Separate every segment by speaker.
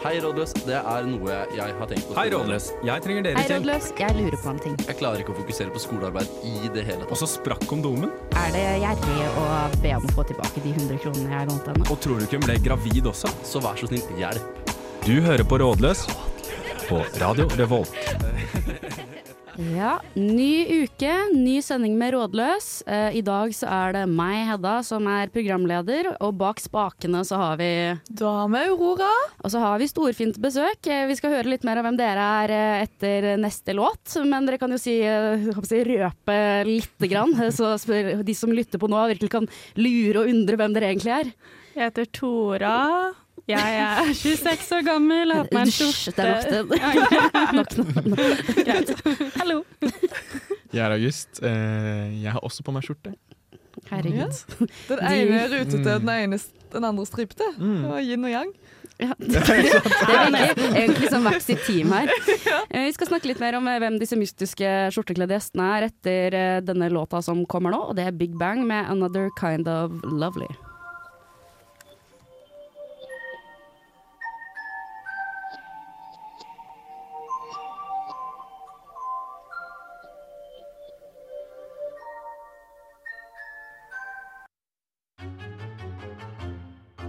Speaker 1: Hei, rådløs. Det er noe jeg har tenkt på.
Speaker 2: Hei, Rådløs. Jeg trenger dere
Speaker 3: Hei,
Speaker 2: til.
Speaker 3: rådløs. Jeg lurer på en ting.
Speaker 1: Jeg klarer ikke å fokusere på skolearbeid i det hele
Speaker 2: Og
Speaker 1: tatt.
Speaker 2: så sprakk kondomen.
Speaker 3: Er det gjerrig å be om å få tilbake de 100 kronene jeg lånte henne?
Speaker 2: Og tror du ikke hun ble gravid også?
Speaker 1: Så vær så snill, hjelp.
Speaker 2: Du hører på Rådløs på Radio Revolt.
Speaker 3: Ja, ny uke, ny sending med Rådløs. Eh, I dag så er det meg, Hedda, som er programleder, og bak spakene så har vi
Speaker 4: Dame Aurora.
Speaker 3: Og så har vi storfint besøk. Eh, Vi skal høre litt mer av hvem dere er eh, etter neste låt. Men dere kan jo si, eh, jeg håper å si røpe lite grann, eh, så spør- de som lytter på nå virkelig kan lure og undre hvem dere egentlig er.
Speaker 4: Jeg heter Tora. Jeg er 26 år gammel. Har på meg en
Speaker 3: Hysj, det er
Speaker 4: skjorte.
Speaker 3: nok det. Nok, nok, nok.
Speaker 4: Greit. Hallo.
Speaker 5: Jeg er August. Eh, Jeg har også på meg skjorte.
Speaker 3: Herregud.
Speaker 6: Den
Speaker 3: De-
Speaker 6: ene er rutete, den, ene, den andre stripete. Det var yin og yang.
Speaker 3: Ja. Det er sånn. egentlig, egentlig sånn hvert sitt team her. Eh, Vi skal snakke litt mer om eh, hvem disse mystiske skjortekledde gjestene er etter eh, denne låta som kommer nå, og det er Big Bang med 'Another Kind of Lovely'.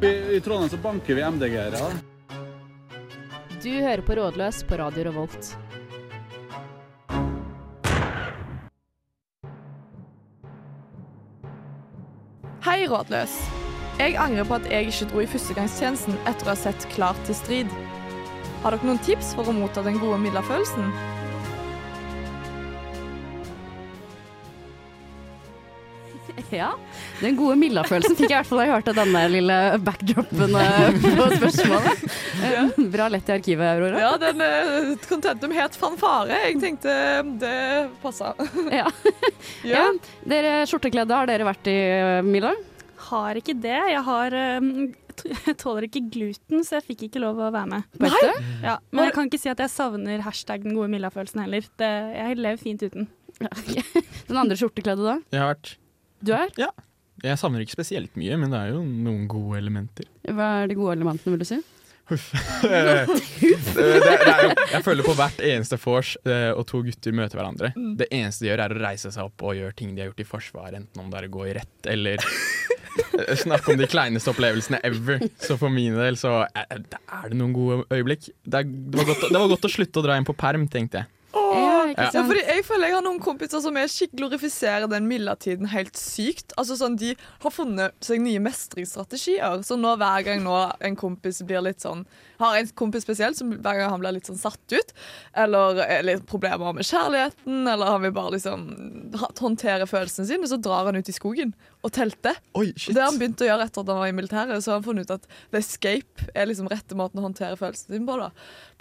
Speaker 7: I, I Trondheim så banker vi MDG-ere.
Speaker 3: Du hører på Rådløs på Radio Revolt.
Speaker 6: Hei, rådløs. Jeg angrer på at jeg ikke dro i førstegangstjenesten etter å ha sett Klar til strid. Har dere noen tips for å motta den gode midlerfølelsen?
Speaker 3: Ja, Den gode Milla-følelsen fikk jeg i hvert fall da jeg hørte denne lille backdropen eh, på spørsmålet. Eh, Bra lett i arkivet, Aurora.
Speaker 6: Ja, den eh, contentum het fanfare. Jeg tenkte eh, det passa.
Speaker 3: Ja. Ja.
Speaker 6: Ja.
Speaker 3: Dere skjortekledde, har dere vært i eh, Milla?
Speaker 4: Har ikke det. Jeg har ehm, t- jeg tåler ikke gluten, så jeg fikk ikke lov å være med.
Speaker 3: På ekte?
Speaker 4: Ja, men jeg kan ikke si at jeg savner hashtag den gode Milla-følelsen heller. Det, jeg lever fint uten.
Speaker 3: Den andre skjortekledde, da?
Speaker 5: Jeg har vært
Speaker 3: Du er?
Speaker 5: Jeg savner ikke spesielt mye, men det er jo noen gode elementer.
Speaker 3: Hva er de gode elementene, vil du si?
Speaker 5: Eh, det, det er jo, jeg føler på hvert eneste vors eh, og to gutter møter hverandre. Det eneste de gjør, er å reise seg opp og gjøre ting de har gjort i Forsvaret, enten om det er å gå i rett eller eh, Snakke om de kleineste opplevelsene ever. Så for min del så eh, er det noen gode øyeblikk. Det, er, det, var godt, det var godt å slutte å dra inn på perm, tenkte jeg.
Speaker 3: Ja, ikke
Speaker 6: Ja,
Speaker 3: sant?
Speaker 6: fordi jeg føler jeg har noen kompiser som er skikk- glorifiserer den midlertiden helt sykt. Altså sånn, De har funnet seg nye mestringsstrategier. Så nå hver gang nå en kompis blir litt sånn Har en kompis spesielt som hver gang han blir litt sånn satt ut, eller er litt problemer med kjærligheten, eller han vil bare liksom ha- håndtere følelsene sine, så drar han ut i skogen og telter.
Speaker 5: Oi,
Speaker 6: Og
Speaker 5: shit.
Speaker 6: Det har han begynt å gjøre etter at han var i militæret, så har han funnet ut at the escape er liksom rette måten å håndtere følelsene sine på, da.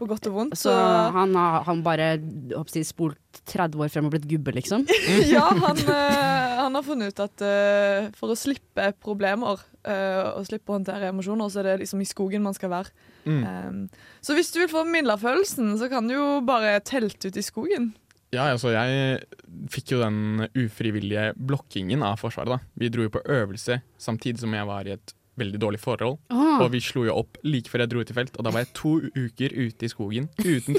Speaker 6: På godt og vondt.
Speaker 3: Så han har han bare håper jeg, spolt 30 år frem og blitt gubbe, liksom?
Speaker 6: Ja, han, eh, han har funnet ut at eh, for å slippe problemer eh, og slippe å håndtere emosjoner, så er det liksom i skogen man skal være.
Speaker 5: Mm.
Speaker 6: Eh, så hvis du vil få Milla-følelsen, så kan du jo bare telte ut i skogen.
Speaker 5: Ja, altså jeg fikk jo den ufrivillige blokkingen av Forsvaret. da. Vi dro jo på øvelse samtidig som jeg var i et veldig dårlig forhold.
Speaker 3: Ah,
Speaker 5: Og vi slo jo opp like før jeg dro ut i felt, og da var jeg to uker ute i skogen uten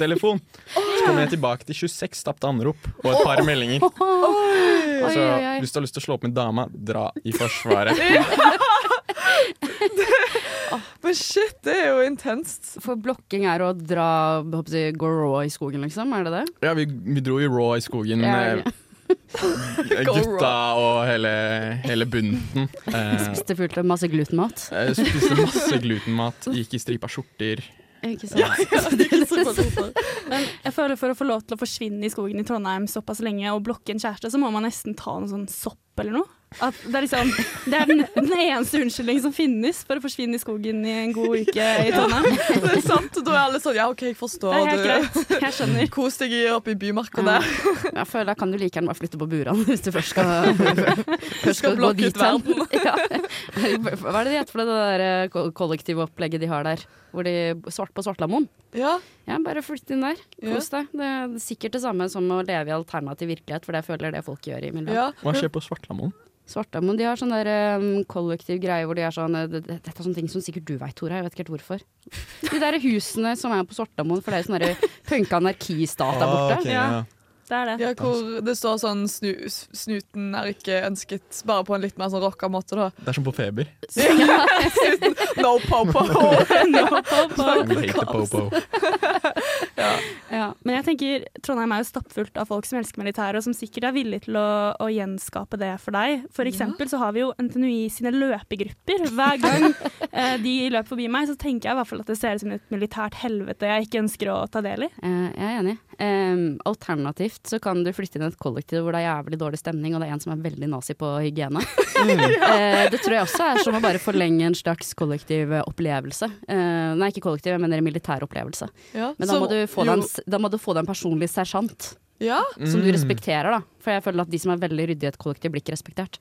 Speaker 5: telefon. Så kom jeg tilbake til 26 tapte anrop og et par meldinger.
Speaker 3: Ah. oi,
Speaker 5: Så
Speaker 3: oi, oi.
Speaker 5: hvis du har lyst til å slå opp med dama, dra i Forsvaret.
Speaker 6: Men shit, det er jo intenst.
Speaker 3: For blokking er å dra, håper jeg, gå raw i skogen, liksom? Er det det?
Speaker 5: Ja, vi, vi dro jo raw i skogen.
Speaker 3: Ja,
Speaker 5: eh, Gutta og hele, hele bunten. Eh,
Speaker 3: Spiste fullt av masse glutenmat?
Speaker 5: jeg spiste masse glutenmat, gikk i stripa skjorter.
Speaker 3: Ikke sant? liksom-
Speaker 4: Men jeg føler for å få lov til å forsvinne i skogen i Trondheim såpass lenge og blokke en kjæreste, så må man nesten ta en sånn sopp eller noe. At det er, liksom, det er den, den eneste unnskyldningen som finnes for å forsvinne i skogen i en god uke i Trondheim.
Speaker 6: Det er sant, og da er alle sånn Ja, OK, jeg forstår.
Speaker 4: Det er helt
Speaker 6: du-
Speaker 4: greit. Jeg skjønner.
Speaker 6: Kos deg i- oppe i bymarka der.
Speaker 3: Jeg føler Da kan du like gjerne bare flytte på burene, hvis du først skal, først skal gå
Speaker 6: blokke ut
Speaker 3: dit hen. Ja. Hva er det de heter for det der eh, ko- kollektive opplegget de har der? Hvor de svart på Svartlamoen?
Speaker 6: Ja.
Speaker 3: Ja, bare flytt inn der. Kos deg. Det er sikkert det samme som å leve i alternativ virkelighet, for det jeg føler det folk gjør i miljøet.
Speaker 6: ja.
Speaker 5: Hva skjer på Svartlamoen?
Speaker 3: Svartdamen de har sånn der eh, kollektiv greie hvor de er sånn eh, det- det- Dette er sånne ting som sikkert du veit, Tora. Jeg vet ikke helt hvorfor. De der husene som er på Svartdamoen, for det er jo sånn der punka anarkistat
Speaker 5: Ah,
Speaker 3: der borte.
Speaker 4: Ja. Det er det.
Speaker 6: Ja, hvor det står sånn snu, s- 'Snuten er ikke ønsket', bare på en litt mer sånn rocka måte, da.
Speaker 5: Det er som på feber.
Speaker 6: No popo!
Speaker 5: We hate the popo.
Speaker 4: Ja. Men jeg tenker Trondheim er jo stappfullt av folk som elsker militæret, og som sikkert er villig til å, å gjenskape det for deg. For eksempel så har vi jo NTNUI sine løpegrupper. Hver gang eh, de løper forbi meg, så tenker jeg i hvert fall at det ser ut som et militært helvete jeg ikke ønsker å ta del i.
Speaker 3: Eh, jeg er enig. Em, alternativt så kan du flytte inn i et kollektiv hvor det er jævlig dårlig stemning, og det er en som er veldig nazi på hygiene. Eh, det tror jeg også er som å bare forlenge en slags kollektiv eh, opplevelse. Eh, nei, ikke kollektiv, jeg mener en militær opplevelse.
Speaker 6: Ja,
Speaker 3: Men da
Speaker 6: som
Speaker 3: må, du få
Speaker 6: jo-
Speaker 3: deg en, s- da må du få deg en personlig sersjant
Speaker 6: Ja,
Speaker 5: Mm.
Speaker 3: som du respekterer, da. For jeg føler at de som er veldig ryddige i et kollektiv, blir ikke respektert.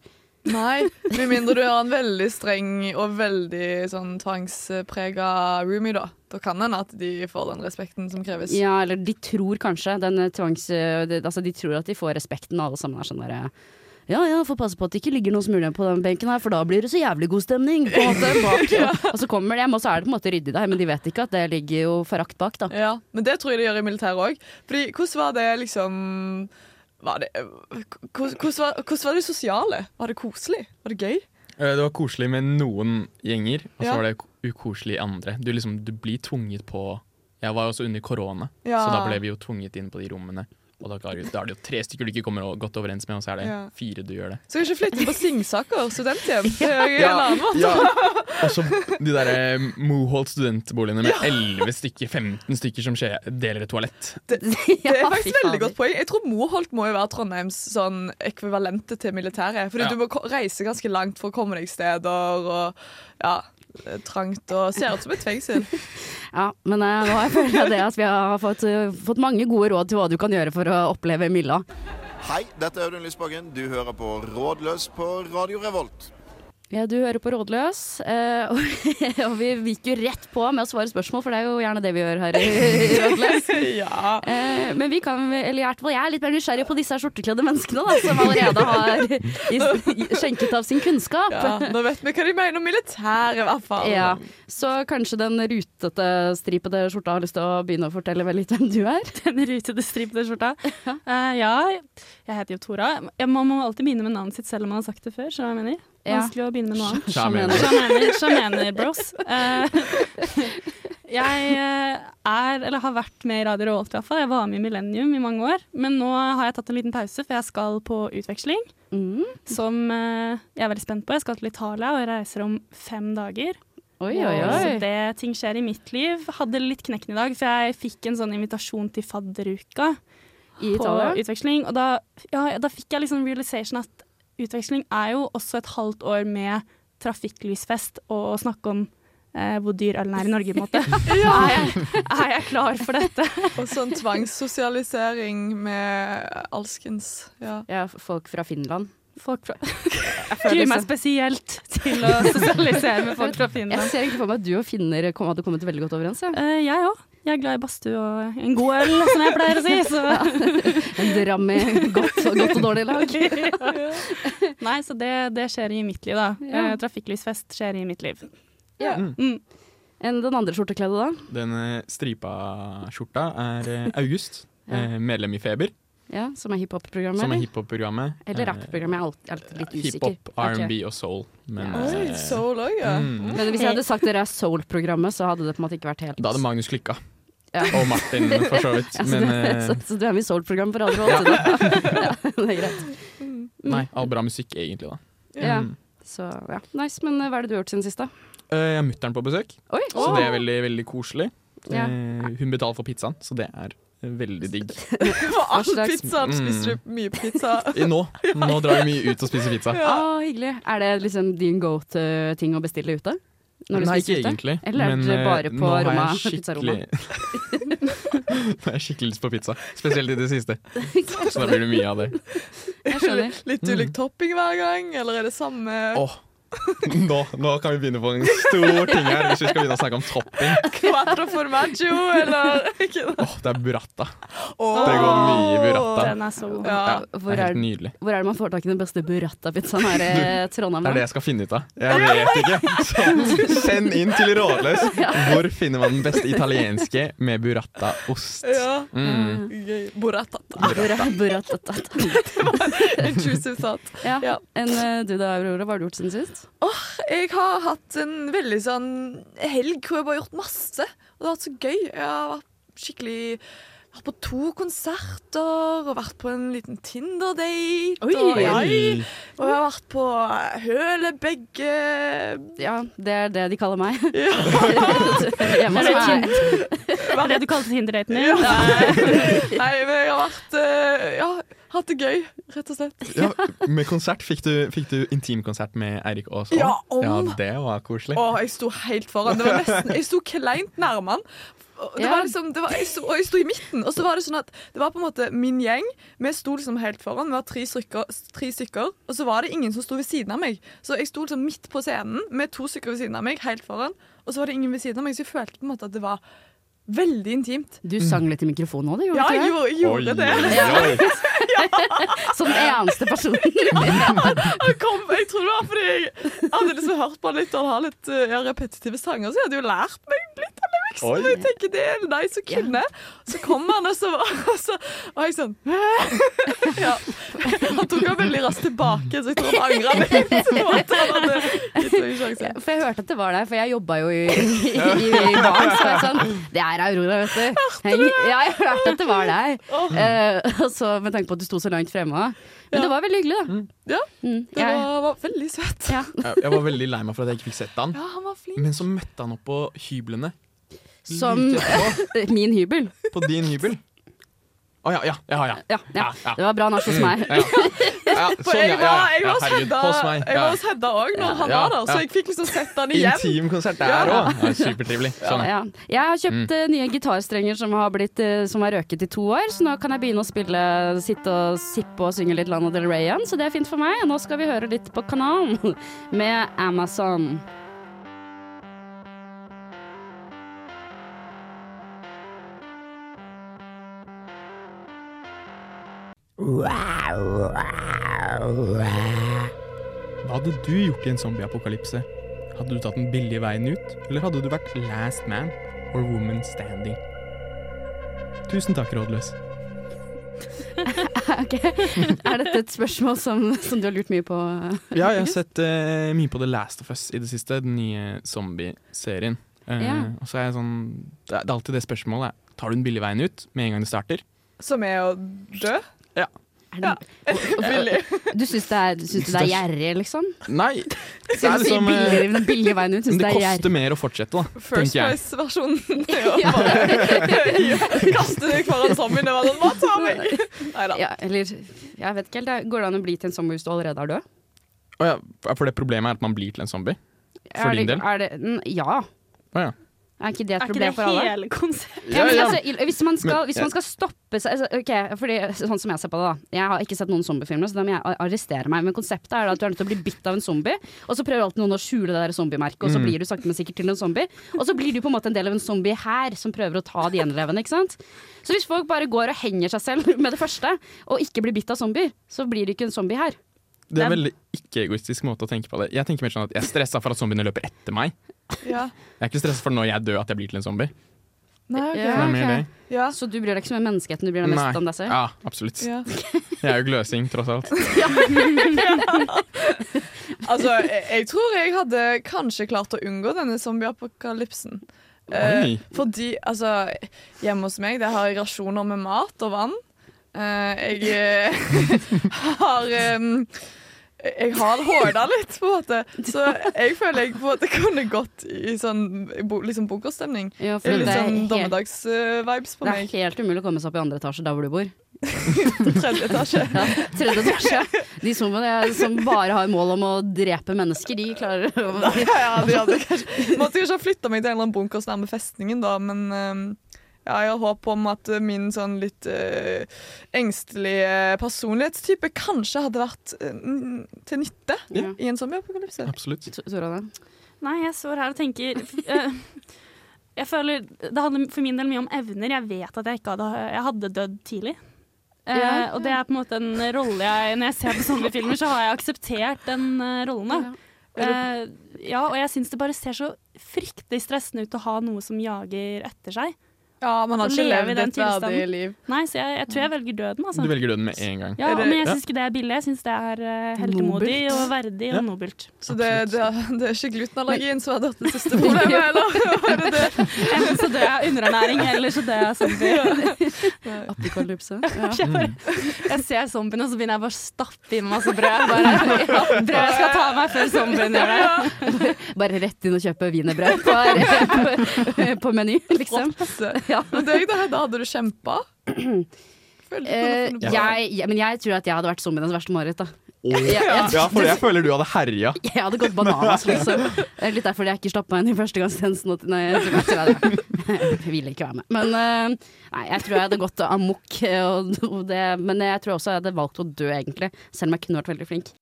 Speaker 6: Nei, med mindre du har en veldig streng og veldig sånn tvangsprega roomie, da. Da kan det hende at de får den respekten som kreves.
Speaker 3: Ja, eller de tror kanskje den eh, tvangs... eh, det- altså, de tror at de får respekten, og alle sammen er sånn derre ja, ja, får passe på at det ikke ligger noen smuler på den benken her, for da blir det så jævlig god stemning. På en måte, bak. og, og så kommer de hjem, og så er det på en måte ryddig der, men de vet ikke at det ligger jo forakt bak, da.
Speaker 6: Ja, men det tror jeg de gjør i militæret òg. Fordi hvordan var det liksom var det, hvordan, hvordan var, hvordan var det sosiale? Var det koselig? Var det gøy?
Speaker 5: Eh, Det var koselig med noen gjenger, og så
Speaker 6: Ja.
Speaker 5: var det ko- ukoselig i andre. Du, liksom, du blir tvunget på Jeg var jo også under korona,
Speaker 6: Ja.
Speaker 5: så da ble vi jo tvunget inn på de rommene. Og da, klarer du- da er det jo tre stykker du ikke kommer o- godt overens med, og så er det
Speaker 6: Ja.
Speaker 5: fire du gjør det.
Speaker 6: Så kan ikke flytte på Singsaker studenthjem. Det er jo en
Speaker 5: Ja.
Speaker 6: annen måte.
Speaker 5: Og så de derre Moholt studentboligene med elleve stykker, 15 stykker som skje- deler et toalett.
Speaker 6: Det er faktisk veldig godt poeng. Jeg tror Moholt må jo være Trondheims sånn ekvivalente til militæret. Fordi
Speaker 5: Ja.
Speaker 6: du må ko- reise ganske langt for å komme deg steder, og ja, det er trangt og ser ut som et fengsel.
Speaker 3: Ja, men eh, nå har jeg følt det at vi har fått, eh, fått mange gode råd til hva du kan gjøre for å oppleve Milla.
Speaker 8: Hei, dette er Audun Lysbakken. Du hører på Rådløs på Radio Revolt.
Speaker 3: Ja, du hører på Rådløs, eh, og, og vi gikk jo rett på med å svare spørsmål, for det er jo gjerne det vi gjør her i Rådløs.
Speaker 6: ja.
Speaker 3: Eh, men vi kan, eller i hvert fall jeg er litt mer nysgjerrig på disse her skjortekledde menneskene da, som allerede har i- i- skjenket av sin kunnskap.
Speaker 6: ja. Nå vet vi hva de mener om militæret, i hvert fall.
Speaker 3: Ja, så kanskje den rutete, stripete skjorta har lyst til å begynne å fortelle meg litt hvem du er?
Speaker 4: Den rutete, stripete skjorta. Eh, ja, jeg heter jo Tora. Jeg, man må alltid begynne med navnet sitt selv om man har sagt det før. skjønner du hva jeg mener?
Speaker 3: Ja.
Speaker 4: Vanskelig å begynne med noe annet.
Speaker 5: Sjarmerende.
Speaker 4: Sjamaner, sjamaner bros. Eh, jeg eh, er, eller har vært med i Radio Revolt i hvert fall. Jeg var med i Millennium i mange år. Men nå har jeg tatt en liten pause, for jeg skal på utveksling.
Speaker 3: Mm.
Speaker 4: Som eh, jeg er veldig spent på. Jeg skal til Italia, og jeg reiser om fem dager.
Speaker 3: Oi, oi,
Speaker 4: Så
Speaker 3: oi.
Speaker 4: det ting skjer i mitt liv. Hadde litt knekken i dag, for jeg fikk en sånn invitasjon til fadderuka
Speaker 3: I
Speaker 4: på
Speaker 3: Italia?
Speaker 4: utveksling. Og da, ja, da fikk jeg liksom realization at utveksling er jo også et halvt år med trafikklysfest og å snakke om eh, hvor dyr ølen er i Norge, på en måte. er, jeg, er jeg klar for dette?
Speaker 6: Og sånn tvangssosialisering med alskens. Ja.
Speaker 3: Ja, folk fra Finland.
Speaker 4: Folk fra Gruer meg spesielt til å sosialisere med folk fra
Speaker 3: Jeg
Speaker 4: Finland.
Speaker 3: ser egentlig for meg at du og finner kom, hadde kommet veldig godt overens. Ja.
Speaker 4: Eh, jeg òg. Jeg er glad i badstue og en god øl, sånn som jeg pleier å si. Så.
Speaker 3: En dram i godt, godt og dårlig lag.
Speaker 4: Nei, så det, det skjer i mitt liv, da. Eh, trafikklysfest skjer i mitt liv.
Speaker 5: Mm.
Speaker 3: Enn den andre skjortekledde da?
Speaker 5: Den eh, stripa skjorta er eh, August, eh, medlem i Feber,
Speaker 3: Ja, som er hiphop-programmet?
Speaker 5: som er
Speaker 3: eller?
Speaker 5: hiphop-programmet.
Speaker 3: Eller
Speaker 5: Eh,
Speaker 3: rap-programmet? Jeg er alltid, alltid litt usikker.
Speaker 5: Hiphop, R&B og soul. Men,
Speaker 6: Oi,
Speaker 5: eh,
Speaker 6: soul òg, ja.
Speaker 5: mm.
Speaker 3: Men hvis jeg hadde sagt dere er soul-programmet, så hadde det på en måte ikke vært helt
Speaker 5: Da hadde Magnus klikka.
Speaker 3: Ja.
Speaker 5: Og Martin, for så vidt.
Speaker 3: Ja, så,
Speaker 5: Men
Speaker 3: du,
Speaker 5: eh,
Speaker 3: Altså, så, så du er sånn. med i soul-programmet for alle råd, da. ja, det er greit.
Speaker 5: nei, all bra musikk, egentlig, da.
Speaker 3: Ja.
Speaker 5: Mm.
Speaker 3: Så, ja. Nice, men eh, hva er det du har gjort siden sist, da?
Speaker 5: Eh, jeg har mutter'n på besøk,
Speaker 3: Oi!
Speaker 5: så det er veldig veldig koselig.
Speaker 3: Ja.
Speaker 5: Eh, hun betaler for pizzaen, så det er eh, veldig digg.
Speaker 6: For all
Speaker 3: slags- mm.
Speaker 6: pizzaen spiser du mye pizza.
Speaker 5: Eh, Nå nå drar vi mye ut og spiser pizza.
Speaker 3: Å, hyggelig. Er det liksom din go-to-ting å bestille ute? Når du
Speaker 5: Nei, ikke
Speaker 3: spiser ute?
Speaker 5: egentlig.
Speaker 3: Eller er
Speaker 5: men,
Speaker 3: det
Speaker 5: eh,
Speaker 3: bare på
Speaker 5: nå har jeg
Speaker 3: rommet-
Speaker 5: skikkelig-
Speaker 3: pizzarommet?
Speaker 5: Nå har jeg skikkelig lyst på pizza, spesielt i det siste. Så da blir det mye av det.
Speaker 3: Jeg skjønner. Mm.
Speaker 6: Litt ulik topping hver gang, eller er det samme?
Speaker 5: Åh, Nå, nå kan vi begynne på en stor ting her, hvis vi skal begynne å snakke om topping.
Speaker 6: Quattro formaggio, eller ikke det?
Speaker 5: Åh, det er burrata. Det går mye burrata.
Speaker 4: Den er så god.
Speaker 6: Ja.
Speaker 5: Det
Speaker 3: Hvor
Speaker 5: er
Speaker 3: er,
Speaker 5: helt nydelig.
Speaker 3: hvor er det man får tak i den beste burrata-pizzaen her i Trondheim?
Speaker 5: Det er det jeg skal finne ut av. Jeg vet ikke. Så send inn til Rådløs. Hvor finner man den beste italienske med burrata-ost?
Speaker 6: Ja.
Speaker 5: Mm.
Speaker 6: Gøy. Burratata.
Speaker 3: Burra, burrata.
Speaker 6: Intrusive thought.
Speaker 3: Ja.
Speaker 6: Ja.
Speaker 3: Enn eh, du da, Aurora, hva har du gjort siden sist?
Speaker 6: Jeg har hatt en veldig sånn helg hvor jeg bare har gjort masse. Og det har vært så gøy. Jeg har vært skikkelig vært på to konserter og vært på en liten Tinder-date.
Speaker 3: Oi,
Speaker 6: og,
Speaker 5: oi.
Speaker 6: og jeg har vært på Høle begge
Speaker 3: Ja, det er det de kaller meg.
Speaker 6: Ja.
Speaker 3: Hjemme hos meg.
Speaker 4: Det er det du kalte Tinder-daten din?
Speaker 6: Nei, men jeg har vært eh, Ja, hatt det gøy, rett og slett.
Speaker 5: Ja, med konsert fikk du, fikk du intimkonsert med Eirik Aas.
Speaker 6: Ja, om.
Speaker 5: ja, det var koselig.
Speaker 6: Å, jeg sto helt foran. Det var nesten, jeg sto kleint nærme han. Og Det
Speaker 3: Ja.
Speaker 6: var liksom, det var, jeg sto, og jeg sto i midten, og så var det sånn at det var på en måte min gjeng. Vi sto liksom helt foran, vi var tre stykker, tre stykker, og så var det ingen som sto ved siden av meg. Så jeg sto liksom midt på scenen med to stykker ved siden av meg, helt foran, og så var det ingen ved siden av meg, så jeg følte på en måte at det var veldig intimt.
Speaker 3: Du sang litt i mikrofonen òg, du gjorde
Speaker 6: Ja,
Speaker 3: ikke
Speaker 6: jeg
Speaker 3: det?
Speaker 6: gjorde, jeg gjorde det.
Speaker 5: oi.
Speaker 3: Som den eneste personen.
Speaker 6: Han kom, jeg tror det var fordi jeg hadde liksom hørt på han litt, og han har litt eh, ja, repetitive sanger, så jeg hadde jo lært meg litt av lyrics.
Speaker 5: Oi.
Speaker 6: Og jeg tenker det er nice å kunne. Så kom han, og så var og så var jeg sånn ja. Han tok han veldig raskt tilbake, så jeg tror han angra litt. på at han hadde gitt meg en sjanse.
Speaker 3: For jeg hørte at det var der, for jeg jobba jo i, i, i, i bar. Så jeg sånn Det er Aurora, vet du. Ja, jeg hørte at det var der.
Speaker 6: Åh.
Speaker 3: Eh, og så Med tanke på at du sto så langt fremme òg. Men det var veldig hyggelig, da.
Speaker 6: Ja,
Speaker 3: Mm,
Speaker 6: det
Speaker 3: jeg-
Speaker 6: var, var veldig søtt.
Speaker 3: ja.
Speaker 5: Jeg jeg var veldig lei meg for at jeg ikke fikk sett han.
Speaker 6: Ja, han var flink.
Speaker 5: Men så møtte han opp på hyblene.
Speaker 3: Som min hybel.
Speaker 5: På din hybel. Å ja, ja, ja, ja.
Speaker 3: Ja, ja.
Speaker 5: Ja, ja.
Speaker 3: Det var bra nach hos meg.
Speaker 5: Ja, ja,
Speaker 6: For
Speaker 5: sånn, ja,
Speaker 6: jeg
Speaker 5: ja,
Speaker 6: var,
Speaker 5: ja.
Speaker 6: jeg var hos
Speaker 5: Ja, herregud,
Speaker 6: Hedda
Speaker 5: hos meg.
Speaker 6: Jeg var
Speaker 5: Ja.
Speaker 6: hos Hedda òg når han
Speaker 5: Ja,
Speaker 6: var der, så
Speaker 5: ja.
Speaker 6: jeg fikk liksom sett han igjen.
Speaker 5: Intimkonsert der òg. Ja, Mm. supertrivelig. Sånn.
Speaker 3: Ja. Jeg har kjøpt eh, nye gitarstrenger som har, blitt, eh, som har røket i to år, så nå kan jeg begynne å spille, sitte og sippe og synge litt Lana Del Rey igjen, så det er fint for meg. Nå skal vi høre litt på kanalen med Amazon.
Speaker 5: Hva hadde du gjort i en zombieapokalypse? Hadde du tatt den billige veien ut, eller hadde du vært last man or woman standing? Tusen takk, Rådløs.
Speaker 3: Ok, Er dette et spørsmål som, som du har lurt mye på?
Speaker 5: Ja, jeg har sett eh, mye på The Last of Us i det siste, den nye zombieserien. Eh,
Speaker 3: Ja.
Speaker 5: Og så er jeg sånn Det er det er alltid det spørsmålet. er, Tar du den billige veien ut med en gang det starter?
Speaker 6: Som er å dø.
Speaker 3: Er det,
Speaker 6: Billig.
Speaker 3: du syns det er, du syns det er gjerrig, liksom?
Speaker 5: Nei! Det
Speaker 3: Siden
Speaker 5: er
Speaker 3: du sier
Speaker 5: liksom eh,
Speaker 3: billigere, den billige veien ut,
Speaker 5: men
Speaker 3: syns
Speaker 5: det
Speaker 3: det er gjerrig?
Speaker 5: koster mer å fortsette, da.
Speaker 6: First
Speaker 5: tenker jeg.
Speaker 6: Price-versjonen. Det er jo bare- Kaste deg foran zombien og være sånn Hva tar meg? Nei da.
Speaker 3: Ja, eller jeg vet ikke helt. det- Går det an å bli til en sommer hvis du allerede er død?
Speaker 5: Å ja, for det problemet er at man blir til en zombie? For
Speaker 3: Er
Speaker 5: din
Speaker 3: det-
Speaker 5: del?
Speaker 3: Er det, n- ja.
Speaker 5: Å ja.
Speaker 3: Er ikke det et
Speaker 4: Er
Speaker 3: problem
Speaker 4: ikke
Speaker 3: for alle?
Speaker 4: det hele konseptet?
Speaker 3: Ja, men
Speaker 5: Ja, ja.
Speaker 3: altså, i- hvis, man skal,
Speaker 5: Men-
Speaker 3: hvis man skal stoppe seg altså, ok, fordi, Sånn som jeg ser på det, da. Jeg har ikke sett noen zombiefilmer, så da må jeg ar- arrestere meg. Men konseptet er da at du er nødt til å bli bitt av en zombie, og så prøver alltid noen å skjule det der zombiemerket,
Speaker 6: Mm.
Speaker 3: og så blir du sakte, men sikkert til en zombie. Og så blir du på en måte en del av en zombie her, som prøver å ta de gjenlevende, ikke sant. Så hvis folk bare går og henger seg selv med det første, og ikke blir bitt av zombier, så blir det ikke en zombie her.
Speaker 5: Det er en
Speaker 4: Dem.
Speaker 5: veldig ikke-egoistisk måte å tenke på det. Jeg tenker mer sånn at jeg er stressa for at zombiene løper etter meg.
Speaker 6: Ja.
Speaker 5: Jeg er ikke stressa for når jeg dør at jeg blir til en zombie.
Speaker 6: Nei,
Speaker 5: Det
Speaker 3: Ja,
Speaker 5: er
Speaker 6: ok.
Speaker 5: mer
Speaker 3: ok.
Speaker 5: det.
Speaker 6: ja.
Speaker 3: Så du bryr deg ikke så mye om menneskeheten, du bryr deg mest om deg selv.
Speaker 5: Ja, absolutt.
Speaker 6: Ja.
Speaker 5: Jeg er jo gløsing, tross alt.
Speaker 6: Altså, jeg, jeg tror jeg hadde kanskje klart å unngå denne zombieapokalypsen. Eh,
Speaker 5: Oi.
Speaker 6: fordi, altså Hjemme hos meg det har jeg rasjoner med mat og vann. Eh, jeg eh, har em, jeg har hårda litt, på en måte. Så jeg føler jeg på en måte kunne gått i sånn bo- liksom bunkerstemning.
Speaker 3: Ja,
Speaker 6: Det
Speaker 3: fordi
Speaker 6: er litt
Speaker 3: det er
Speaker 6: sånn
Speaker 3: helt-
Speaker 6: dommedags-vibes på
Speaker 3: det er
Speaker 6: meg.
Speaker 3: helt umulig å komme seg opp i andre etasje der hvor du bor.
Speaker 6: Tredje etasje.
Speaker 3: Ja, tredje etasje. De som, som bare har mål om å drepe mennesker, de klarer å
Speaker 6: Ja, ja, de hadde kanskje Måtte kanskje ha flytta meg til en eller annen bunkers nærme festningen, da, men ehm, Ja, jeg har håp om at eh, min sånn litt eh, engstelige personlighetstype kanskje hadde vært eh, n- til nytte
Speaker 3: Ja.
Speaker 6: i en zombieapokalypse.
Speaker 5: Absolutt.
Speaker 3: Tor- Torane?
Speaker 4: Nei, jeg står her og tenker eh, Jeg føler Det handler for min del mye om evner. Jeg vet at jeg ikke hadde Jeg hadde dødd tidlig. Eh,
Speaker 3: Ja.
Speaker 4: og det er på en måte en rolle jeg Når jeg ser på zombiefilmer, så har jeg akseptert den eh, rollen, da. Eh, ja, og jeg syns det bare ser så fryktelig stressende ut å ha noe som jager etter seg.
Speaker 6: Ja, man har
Speaker 4: Å
Speaker 6: ikke
Speaker 4: leve i
Speaker 6: levd
Speaker 4: den
Speaker 6: et verdig
Speaker 4: tilstanden.
Speaker 6: liv.
Speaker 4: Nei, så jeg, jeg tror jeg velger døden, altså.
Speaker 5: Du velger døden med en gang.
Speaker 4: Ja,
Speaker 6: Er det-
Speaker 4: men jeg syns ikke det er billig. Jeg syns det er eh, heltemodig
Speaker 3: Nobelt.
Speaker 4: og verdig og nobelt.
Speaker 6: Så det, det, det er ikke glutenallergien som hadde vært det siste problemet, eller? Er det det?
Speaker 4: Enten så dør jeg av underernæring, eller så sånn- dør jeg av zombie.
Speaker 3: Apokalypse. Ja.
Speaker 4: Jeg, bare, jeg ser zombien, og så begynner jeg bare å stappe i meg masse brød. Bare, ja, brød skal ta meg før zombien gjør det.
Speaker 3: Bare rett inn og kjøpe wienerbrød på, på, på Meny, liksom.
Speaker 6: Propse.
Speaker 3: Ja.
Speaker 6: Men deg, da, Hedda, hadde du kjempa?
Speaker 3: Eh, jeg, jeg, men jeg tror at jeg hadde vært zombienes verste mareritt. da. Jeg, jeg,
Speaker 5: Ja, for jeg føler du hadde herja.
Speaker 3: jeg hadde gått bananas, liksom. Det er litt derfor jeg ikke slapp meg inn i førstegangstjenesten. at- Nei, jeg tror jeg tror jeg hadde- jeg ville ikke være med. Men eh, nei, jeg tror jeg hadde gått amok. eh, Og, og det, men jeg tror også jeg hadde valgt å dø, egentlig. Selv om jeg kunne vært veldig flink.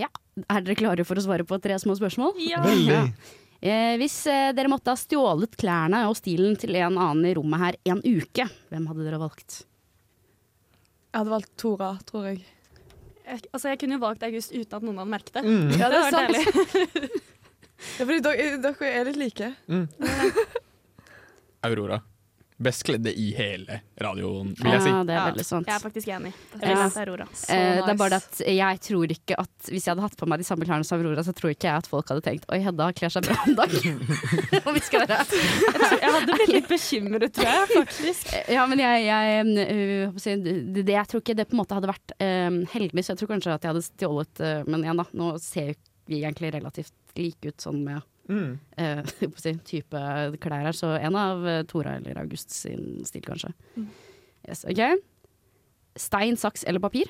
Speaker 3: Ja. Er dere klare for å svare på tre små spørsmål?
Speaker 2: Veldig.
Speaker 3: Eh, hvis eh, dere måtte ha stjålet klærne og stilen til en annen i rommet her en uke, hvem hadde dere valgt?
Speaker 6: Jeg hadde valgt Tora, tror jeg.
Speaker 4: Jeg, altså, jeg kunne jo valgt August uten at noen hadde merket det.
Speaker 6: Ja, det
Speaker 4: var
Speaker 6: er sant.
Speaker 4: deilig.
Speaker 6: Ja, fordi dere, eh, dere er litt like.
Speaker 5: Aurora. Best kledde i hele radioen, vil jeg si.
Speaker 3: Ja, det er
Speaker 4: Ja.
Speaker 3: veldig sant.
Speaker 4: Jeg er faktisk enig. Jeg
Speaker 3: Ja.
Speaker 4: vil lese Aurora.
Speaker 3: Eh, Det er bare det at jeg tror ikke at hvis jeg hadde hatt på meg de samme klærne som Aurora, så tror ikke jeg at folk hadde tenkt Oi, Hedda kler seg bra en dag. Om vi skal være
Speaker 4: Jeg hadde blitt litt bekymret, tror jeg, faktisk.
Speaker 3: Ja, men jeg, jeg, øh, hva skal jeg si, det, det, jeg tror ikke det på en måte hadde vært øh, heldig, så jeg tror kanskje at jeg hadde stjålet øh, Men igjen, da. Nå ser jo vi egentlig relativt like ut sånn med øh, hva skal jeg si, type klær her, så en av øh, Tora eller August sin stil, kanskje. Yes, OK. Stein, saks eller papir?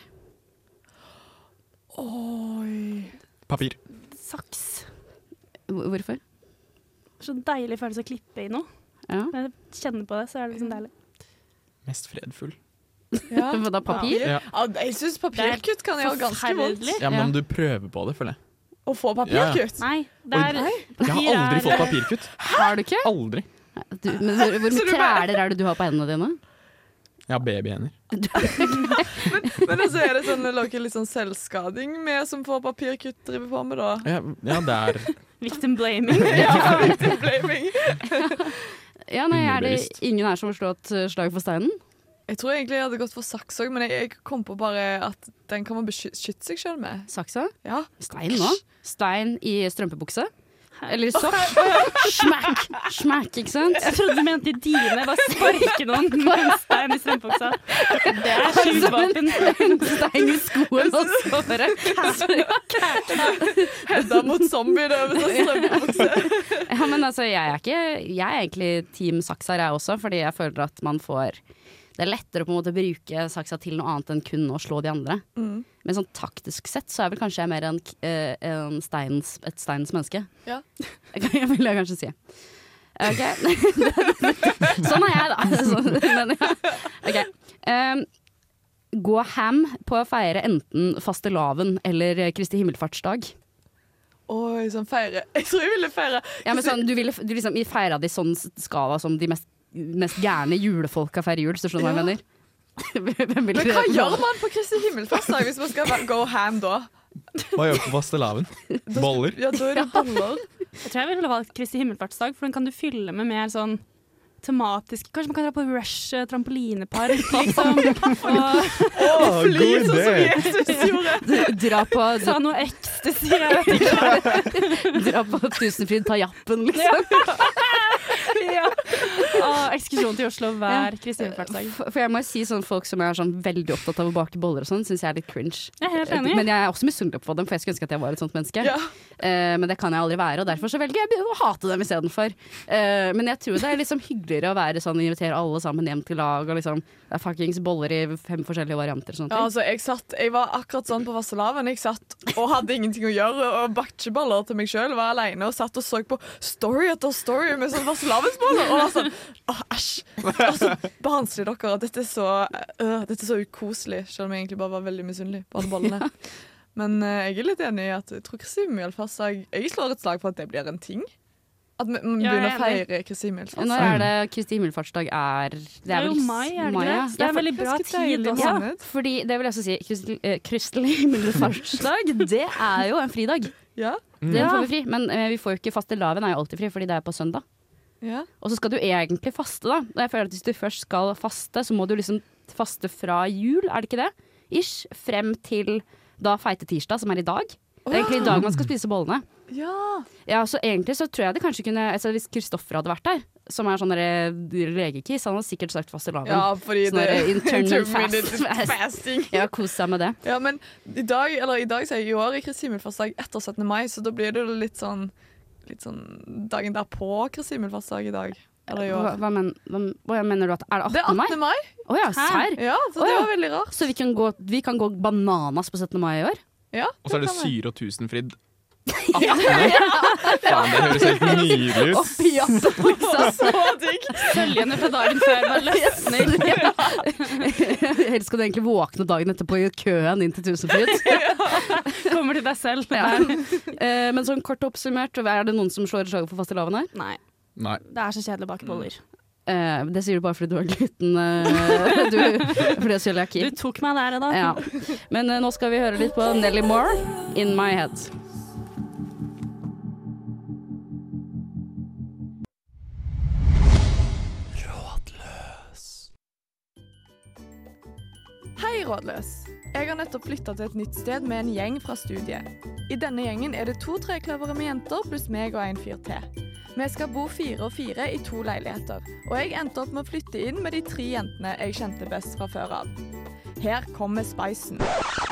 Speaker 6: Oi.
Speaker 5: Papir.
Speaker 4: Saks.
Speaker 3: Hvor- Hvorfor?
Speaker 4: Så deilig følelse å klippe i noe.
Speaker 3: Ja.
Speaker 4: Når jeg kjenner på det, så er det liksom deilig.
Speaker 5: Mest fredfull.
Speaker 6: Ja.
Speaker 3: Hva da, papir?
Speaker 5: Ja.
Speaker 6: Ja, jeg syns papirkutt kan gjøre ganske vondt.
Speaker 4: Forferdelig.
Speaker 5: Ja,
Speaker 3: Ja.
Speaker 5: men du prøver på det, føler jeg.
Speaker 6: Å få papirkutt.
Speaker 4: Nei, det er
Speaker 5: Jeg har aldri fått papirkutt.
Speaker 3: Har du ikke?
Speaker 5: Aldri.
Speaker 3: Du, men hvor, hvor
Speaker 6: Så
Speaker 3: mye
Speaker 6: du bare-
Speaker 3: træler er det du har på hendene dine?
Speaker 5: Jeg har babyhender.
Speaker 6: Men altså, er det sånn, dere litt sånn selvskading med som får papirkutt driver på med, da?
Speaker 5: Ja, ja, det er
Speaker 4: Victim blaming.
Speaker 6: Ja, victim blaming.
Speaker 3: Ja, nei, er det
Speaker 5: Underbevisst.
Speaker 3: ingen her som har slått eh, slag for steinen?
Speaker 6: Jeg tror egentlig jeg hadde gått for saks òg, men jeg, jeg kom på bare at den kan man beskytte seg sjøl med.
Speaker 3: Saksa?
Speaker 6: Ja.
Speaker 3: Stein nå? Stein i strømpebukse? Eller i sokk? Smack! Smack, ikke sant?
Speaker 4: Jeg trodde du mente i dine. Bare sparke noen med en stein i strømpebuksa. Det er sjukt våpen.
Speaker 3: En stein i skoen og så bare
Speaker 6: Hedda mot zombie det er med sånn strømpebukse.
Speaker 3: Ja, men altså, jeg er ikke Jeg er egentlig team saks her, jeg også, fordi jeg føler at man får Det er lettere på en måte å bruke saksa til noe annet enn kun å slå de andre.
Speaker 6: Mm.
Speaker 3: Men sånn taktisk sett så er vel kanskje jeg mer en, k- eh, en steins, et steinens menneske.
Speaker 6: Ja.
Speaker 3: Det vil jeg kanskje si. Ok. sånn er jeg, da. Sånn, men, ja. Ok. Um, gå ham på å feire enten fastelavn eller Kristi himmelfartsdag.
Speaker 6: Oi, sånn feire. Jeg tror jeg ville feire.
Speaker 3: Ja, men sånn, du, ville, du liksom feira det i sånn skala som de mest, mest gærne julefolka feirer jul, hvis du skjønner hva jeg mener? Hvem ville
Speaker 6: Men hva
Speaker 3: dere-
Speaker 6: gjør man på Kristi himmelfartsdag hvis man skal va- go ham da?
Speaker 5: Hva gjør du på fastelavn? Boller?
Speaker 6: Ja, da er det boller.
Speaker 4: Jeg tror jeg ville valgt Kristi himmelfartsdag, for den kan du fylle med mer sånn tematiske Kanskje man kan dra på Rush eh, trampolinepark, liksom. Og
Speaker 5: Oh,
Speaker 6: Fly sånn som Jesus gjorde.
Speaker 3: Dra på,
Speaker 4: ta noe ecstasy. Jeg vet ikke.
Speaker 3: dra på Tusenfryd, ta jappen, liksom.
Speaker 4: Ja. og ekskursjon til Oslo hver Kristinefartsdag.
Speaker 3: For for jeg må jo si sånn folk som er sånn veldig opptatt av å bake boller og sånn, syns jeg er litt cringe.
Speaker 4: Jeg er helt enig.
Speaker 3: Men jeg er også misunnelig på dem, for jeg skulle ønske at jeg var et sånt menneske.
Speaker 6: Ja.
Speaker 3: Eh, men det kan jeg aldri være, og derfor så velger jeg å hate dem istedenfor. Uh, men jeg tror det er liksom hyggeligere å være sånn invitere alle sammen hjem til lag, og liksom det er fuckings boller i fem forskjellige varianter og sånne
Speaker 6: Ja,
Speaker 3: ting.
Speaker 6: altså, jeg, satt, jeg var akkurat sånn på Vasselavn. Jeg satt og hadde ingenting å gjøre og bakte ikke boller til meg sjøl. Var aleine og satt og så på story etter story med sånn Vasselavnsboller. Og var sånn Åh, æsj. Altså, barnslige dere. Dette er så øh, Dette er så ukoselig. Selv om jeg egentlig bare var veldig misunnelig på alle bollene. Men eh, jeg er litt enig i at jeg tror Kristin Mjølfarsdag Jeg slår et slag for at det blir en ting. At vi vi
Speaker 4: Ja, jeg
Speaker 6: begynner
Speaker 4: er
Speaker 6: å feire Kristin Mjølfarsdag.
Speaker 3: Når er det Kristi himmelfartsdag er Det
Speaker 4: Det er jo
Speaker 3: vel
Speaker 4: mai, er det
Speaker 3: mai,
Speaker 4: ikke det?
Speaker 3: ja.
Speaker 4: Så Det
Speaker 3: Ja,
Speaker 4: er
Speaker 3: for-
Speaker 4: veldig bra
Speaker 6: faktisk et
Speaker 4: tid liksom.
Speaker 6: deilig
Speaker 4: også.
Speaker 6: måned.
Speaker 3: Fordi det vil jeg også si Kristelig, eh, kristelig himmelfartsdag, det er jo en fridag.
Speaker 6: Ja,
Speaker 3: Den får vi fri. Men eh, vi får jo ikke fastelavn, er jo alltid fri, fordi det er på søndag.
Speaker 6: ja.
Speaker 3: Og så skal du egentlig faste, da. Og jeg føler at hvis du først skal faste, så må du liksom faste fra jul, er det ikke det? Ish. Frem til da feite tirsdag, som er i dag. Det er egentlig i dag man skal spise bollene.
Speaker 6: ja.
Speaker 3: Ja, så egentlig så tror jeg det kanskje kunne altså Hvis Kristoffer hadde vært der, som er sånn derre legekiss, han hadde sikkert sagt fastelavn.
Speaker 6: Ja, fordi
Speaker 3: Sånn der
Speaker 6: det
Speaker 3: internal
Speaker 6: intermittent
Speaker 3: fast.
Speaker 6: fasting.
Speaker 3: Ja, kos seg med det.
Speaker 6: Ja, men i dag, eller i dag, så er i år er Kristi himmelfartsdag etter 17. mai, så da blir det jo litt sånn, litt sånn dagen derpå Kristi himmelfartsdag i dag. Eller i
Speaker 3: Hva,
Speaker 6: år.
Speaker 3: hva, men, hva, hva mener du at Er
Speaker 6: Det
Speaker 3: det
Speaker 6: er
Speaker 3: 18. mai?
Speaker 6: 18. mai,
Speaker 3: Å ja, serr?
Speaker 6: ja, så
Speaker 3: Å,
Speaker 6: det
Speaker 3: ja.
Speaker 6: var veldig rart.
Speaker 3: Så vi kan, gå, vi kan gå bananas på 17. mai i år?
Speaker 6: Ja,
Speaker 5: Og så er det
Speaker 6: kan vi.
Speaker 5: Syre og Tusenfryd. 18. Faen, det høres helt nydelig ut.
Speaker 4: Bølgene fra dagen før bare løsner.
Speaker 3: Helst skal du egentlig våkne dagen etterpå i køen inn til Tusenfryd.
Speaker 4: Kommer til deg selv.
Speaker 3: Ja. Eh, Men sånn kort oppsummert, er det noen som slår et slag for fastelavn her?
Speaker 4: Nei.
Speaker 5: Nei.
Speaker 4: Det er så kjedelig å bake boller.
Speaker 3: Eh, Det sier du bare fordi du har gluten eh, du, Fordi du har cøliaki.
Speaker 4: Du tok meg der, Eda.
Speaker 3: Mm. Ja. Men eh, nå skal vi høre litt på Nelly Moore, 'In My Head'.
Speaker 6: Hei, Rådløs. Jeg har nettopp flytta til et nytt sted med en gjeng fra studiet. I denne gjengen er det to trekløvere med jenter pluss meg og en fyr til. Vi skal bo fire og fire i to leiligheter, og jeg endte opp med å flytte inn med de tre jentene jeg kjente best fra før av. Her kommer spicen.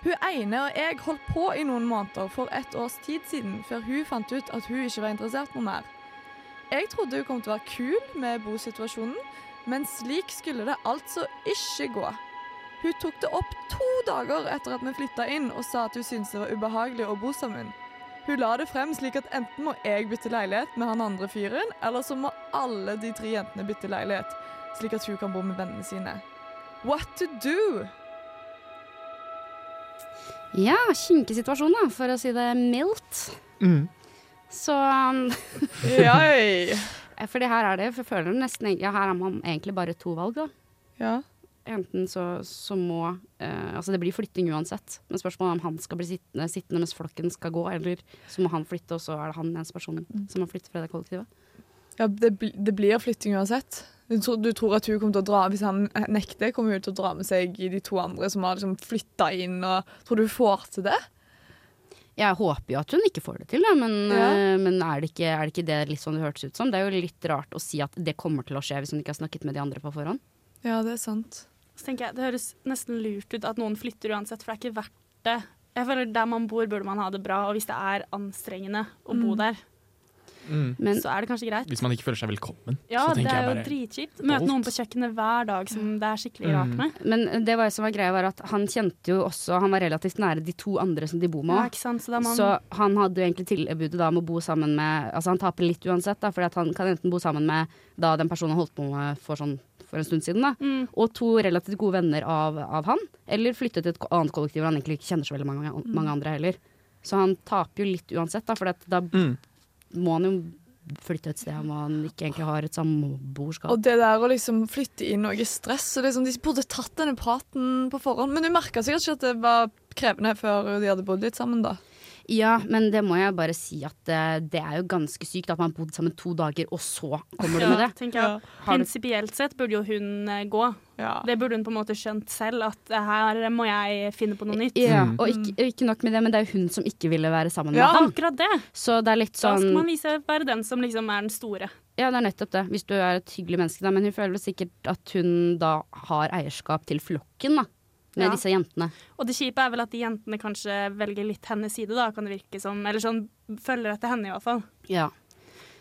Speaker 6: Hun ene og jeg holdt på i noen måneder for et års tid siden, før hun fant ut at hun ikke var interessert noe mer. Jeg trodde hun kom til å være kul med bosituasjonen, men slik skulle det altså ikke gå. Hun tok det opp to dager etter at vi flytta inn og sa at hun syntes det var ubehagelig å bo sammen. Hun la det frem slik at enten må jeg bytte leilighet med han andre fyren, eller så må alle de tre jentene bytte leilighet, slik at hun kan bo med vennene sine. What to do?
Speaker 3: Ja, kinkig situasjon, da, for å si det mildt. Så um,
Speaker 6: Jøy.
Speaker 3: Eh, Fordi her er det for jeg føler nesten Ja, her har man egentlig bare to valg, da.
Speaker 6: Ja.
Speaker 3: Enten så, så må eh, Altså, det blir flytting uansett. Men spørsmålet er om han skal bli sittende, sittende mens flokken skal gå, eller så må han flytte, og så er det han eneste personen
Speaker 4: Mm.
Speaker 3: som må flytte fra det kollektivet.
Speaker 6: ja det, bl det blir flytting uansett. Du tror, du tror at hun kommer til å dra Hvis han nekter, kommer hun til å dra med seg de to andre som har liksom flytta inn. Og, tror du hun får til det?
Speaker 3: Jeg håper jo at hun ikke får det til, da, men,
Speaker 6: Ja.
Speaker 3: eh, men er, det ikke, er det ikke det litt sånn det hørtes ut som? Det er jo litt rart å si at det kommer til å skje hvis hun ikke har snakket med de andre på forhånd.
Speaker 6: Ja, det er sant.
Speaker 4: Så tenker jeg, Det høres nesten lurt ut at noen flytter uansett, for det er ikke verdt det. Jeg føler Der man bor, burde man ha det bra, og hvis det er anstrengende å bo der,
Speaker 3: Mm. Men
Speaker 4: så er det kanskje greit.
Speaker 5: Mm. Hvis man ikke føler seg velkommen,
Speaker 4: Ja,
Speaker 5: så
Speaker 4: det
Speaker 5: tenker
Speaker 4: er jo
Speaker 5: jeg bare Mm.
Speaker 4: dritkjipt. Møte noen på kjøkkenet hver dag som det er skikkelig rart med.
Speaker 3: Men det var jo som var greia var at han kjente jo også Han var relativt nære de to andre som de bor
Speaker 4: Ja,
Speaker 3: med.
Speaker 4: ikke sant? Så da man,
Speaker 3: Så han hadde jo egentlig tilbudet da om å bo sammen med Altså han taper litt uansett, da, for han kan enten bo sammen med da den personen han holdt på med for, sånn, for en stund siden, da,
Speaker 4: Mm.
Speaker 3: og to relativt gode venner av, av han, eller flytte til et ko- annet kollektiv hvor han egentlig ikke kjenner så veldig mange, mange andre heller. Så han taper jo litt uansett, da, for da
Speaker 5: Mm.
Speaker 3: må han jo flytte et sted hvor han ikke egentlig har et samboerskap.
Speaker 6: Og det der å liksom flytte inn noe stress og liksom, De burde tatt denne praten på forhånd. Men du merka sikkert ikke at det var krevende før de hadde bodd litt sammen, da.
Speaker 3: Ja, men det må jeg bare si at eh, det er jo ganske sykt at man har bodd sammen to dager, og så kommer du med
Speaker 4: Ja,
Speaker 3: det.
Speaker 4: tenker jeg.
Speaker 3: Har du-
Speaker 4: Prinsipielt sett burde jo hun eh, gå.
Speaker 6: Ja.
Speaker 4: Det burde hun på en måte skjønt selv, at eh, her må jeg finne på noe nytt.
Speaker 3: Ja, og ikke, ikke nok med det, men det er jo hun som ikke ville være sammen med
Speaker 6: Ja.
Speaker 3: han.
Speaker 4: Akkurat det.
Speaker 3: Så det er litt
Speaker 4: Da skal man
Speaker 3: sånn
Speaker 4: vise være den som liksom er den store.
Speaker 3: Ja, det er nettopp det. Hvis du er et hyggelig menneske, da. Men hun føler vel sikkert at hun da har eierskap til flokken, da. Med
Speaker 4: Ja.
Speaker 3: disse jentene.
Speaker 4: Og det kjipe er vel at de jentene kanskje velger litt hennes side, da, kan det virke som. Eller sånn følger etter henne, i hvert fall.
Speaker 3: Ja.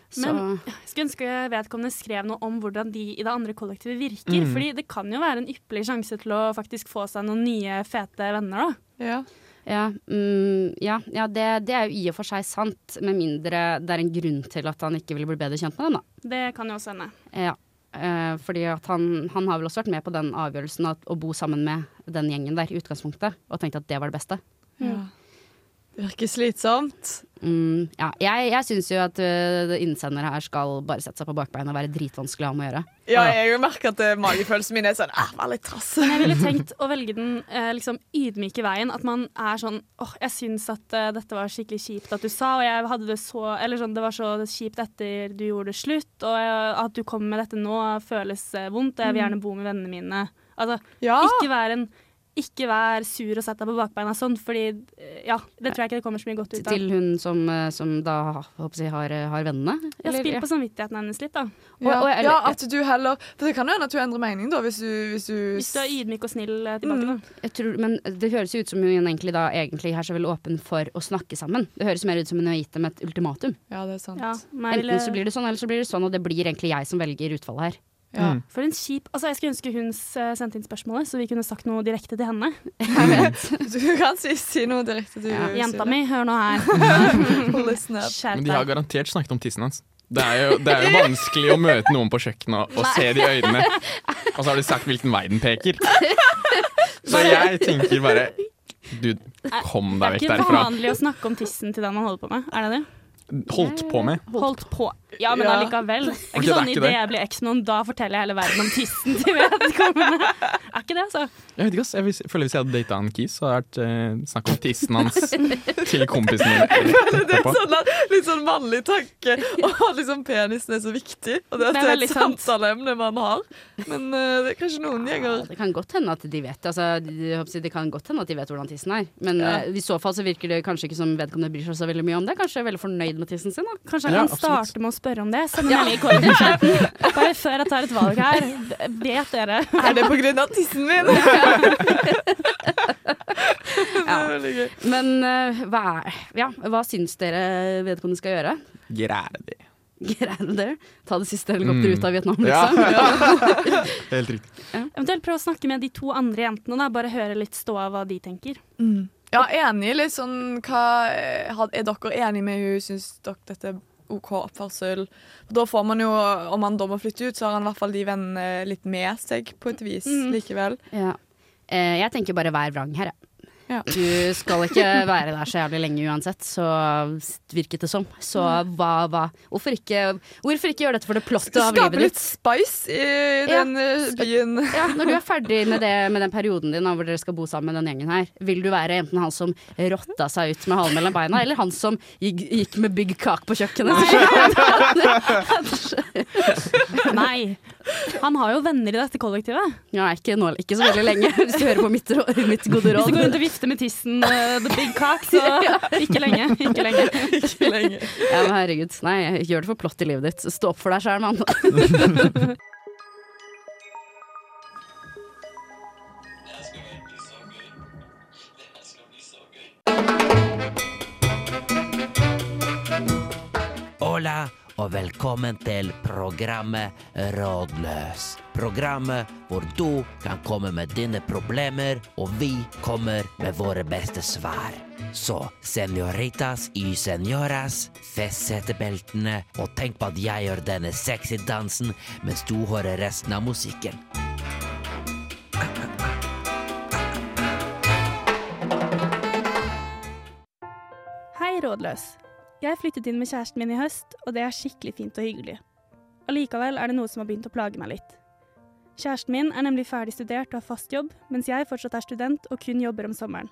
Speaker 3: Så
Speaker 4: Men- Skulle ønske vedkommende skrev noe om hvordan de i det andre kollektivet virker. Fordi det kan jo være en ypperlig sjanse til å faktisk få seg noen nye, fete venner, da.
Speaker 6: Ja.
Speaker 3: ja, mm, ja, ja det, det er jo i og for seg sant, med mindre det er en grunn til at han ikke ville bli bedre kjent med dem, da.
Speaker 4: Det kan jo også hende.
Speaker 3: Ja. Eh, fordi at han, han har vel også vært med på den avgjørelsen at, å bo sammen med den gjengen der i utgangspunktet, og tenkte at det var det beste.
Speaker 4: Mm.
Speaker 6: Det virker slitsomt.
Speaker 3: Mm, ja. Jeg, jeg syns jo at uh, innsender her skal bare sette seg på bakbeina og være dritvanskelig å ha med å gjøre.
Speaker 6: Ja, jeg merker at eh, magefølelsen min er sånn ah, Vær litt trass.
Speaker 4: Men jeg ville tenkt å velge den eh, liksom ydmyke veien. At man er sånn åh, jeg syns at eh, dette var skikkelig kjipt at du sa, og jeg hadde det så Eller sånn, det var så kjipt etter du gjorde det slutt, og jeg, at du kommer med dette nå føles eh, vondt, og jeg vil gjerne bo med vennene mine. Altså,
Speaker 6: Ja.
Speaker 4: ikke vær en ikke vær sur og sett deg på bakbeina sånn, fordi eh, ja, det tror jeg ikke det kommer så mye godt ut av.
Speaker 3: Til hun som, eh, som da håper jeg, har, eh, har vennene.
Speaker 4: Ja,
Speaker 3: eller-
Speaker 4: spill på samvittigheten hennes litt, da.
Speaker 6: Ja,
Speaker 3: Og- og- eller-
Speaker 6: ja, at du heller For det kan jo hende at du endrer mening, da, hvis du Hvis du,
Speaker 4: Hvis du er ydmyk og snill eh, tilbake, da.
Speaker 3: Jeg tror, men det høres jo ut som hun egentlig da egentlig er så veldig åpen for å snakke sammen. Det høres mer ut som hun har gitt dem et ultimatum.
Speaker 6: Ja, det er sant.
Speaker 4: Ja, eh, men jeg ville-
Speaker 3: Enten så blir det sånn, eller så blir det sånn, og det blir egentlig jeg som velger utfallet her.
Speaker 6: Ja.
Speaker 4: For en kjip Altså, jeg skulle ønske hun eh, sendte inn spørsmålet, så vi kunne sagt noe direkte til henne.
Speaker 6: Du kan si, si noe direkte til
Speaker 3: Ja.
Speaker 4: Jenta mi, hør nå her.
Speaker 6: Listen up.
Speaker 4: Skjerp
Speaker 5: Men de har
Speaker 4: deg.
Speaker 5: garantert snakket om tissen hans. Det er, jo, det er jo vanskelig å møte noen på kjøkkenet og se det i øynene. Og så har de sagt hvilken vei den peker. Så jeg tenker bare Du, kom
Speaker 4: Det
Speaker 5: deg
Speaker 4: er
Speaker 5: vekk
Speaker 4: ikke
Speaker 5: derfra.
Speaker 4: vanlig å snakke om tissen til den man holder på med, er det det?
Speaker 5: Holdt på med.
Speaker 4: Holdt på. Ja, men
Speaker 6: Ja.
Speaker 4: allikevel. Det er
Speaker 5: Ok,
Speaker 4: ikke
Speaker 5: det er
Speaker 4: sånn
Speaker 5: ikke
Speaker 4: idet
Speaker 5: det.
Speaker 4: jeg blir eks med noen, da forteller jeg hele verden om tissen til vedkommende. Er ikke det, altså.
Speaker 5: Jeg vet ikke, ass. Jeg vis- føler hvis jeg hadde data en kis, så hadde det vært eh, snakk om tissen hans til kompisen min.
Speaker 6: Det er sånn, der- litt sånn mannlig tanke. Og liksom penisen er så viktig. Og det, at
Speaker 4: Det
Speaker 6: det
Speaker 4: er
Speaker 6: er
Speaker 4: veldig
Speaker 6: et
Speaker 4: sant.
Speaker 6: samtaleemne man har. Men eh, det er kanskje noen
Speaker 3: Ja,
Speaker 6: gjenger
Speaker 3: det kan godt hende at de vet altså, de- de- jeg håper å si, Det kan godt hende at de vet hvordan tissen er. Men
Speaker 6: Ja.
Speaker 3: eh, i så fall så virker det kanskje ikke som vedkommende bryr seg så veldig mye om det. Kanskje er veldig fornøyd med tissen sin. Da.
Speaker 4: Kanskje jeg
Speaker 5: Ja,
Speaker 4: kan
Speaker 5: absolutt.
Speaker 4: starte med å spørre om det. Send en melding i korridoren. Bare før jeg tar et valg her. Vet dere?
Speaker 6: Er det på grunn av tissen min? Det er veldig gøy.
Speaker 3: Men eh, hva, er, ja, hva syns dere vedkommende skal gjøre?
Speaker 5: Grære det.
Speaker 3: Greier dere det? Ta det siste helikopteret ut av Vietnam,
Speaker 5: Ja.
Speaker 3: liksom?
Speaker 5: Helt riktig.
Speaker 4: Eventuelt prøv å snakke med de to andre jentene, da. Bare høre litt stå av hva de tenker.
Speaker 6: Ja, enig. Litt sånn hva had- Er dere enige med hun Syns dere dette er OK oppførsel? For Da får man jo Om han da må flytte ut, så har han i hvert fall de vennene litt med seg på et vis likevel.
Speaker 3: Ja. Eh, jeg tenker bare vær vrang her, jeg.
Speaker 6: Ja.
Speaker 3: Du skal ikke være der så jævlig lenge uansett, så virket det som. Så hva, hva Hvorfor ikke, hvorfor ikke gjøre dette for det plottet av
Speaker 6: Skape
Speaker 3: livet
Speaker 6: litt
Speaker 3: ditt?
Speaker 6: spice i
Speaker 3: Ja.
Speaker 6: den eh, byen.
Speaker 3: Ja, når du er ferdig med, det, med den perioden din da, hvor dere skal bo sammen med den gjengen her, vil du være enten han som rotta seg ut med halen mellom beina, eller han som gikk, gikk med bygg kak på kjøkkenet?
Speaker 4: Nei. Han har jo venner i dette kollektivet.
Speaker 3: Ja, ikke, nå, ikke så veldig lenge, hvis du hører på mitt, rå- mitt gode
Speaker 4: Hvis du går
Speaker 3: råd.
Speaker 4: rundt og vifter med tissen, eh, the big cock, så ikke lenge. Ikke lenge.
Speaker 3: Ja, men herregud, nei, ikke gjør det for plott i livet ditt. Stå opp for deg sjæl, mann.
Speaker 9: Hola og velkommen til programmet Rådløs. Programmet hvor du kan komme med dine problemer, og vi kommer med våre beste svar. Så senoritas y senoras, fest setebeltene, og tenk på at jeg gjør denne sexy dansen mens du hører resten av musikken.
Speaker 4: Hei, rådløs. Jeg flyttet inn med kjæresten min i høst, og det er skikkelig fint og hyggelig. Allikevel er det noe som har begynt å plage meg litt. Kjæresten min er nemlig ferdig studert og har fast jobb, mens jeg fortsatt er student og kun jobber om sommeren.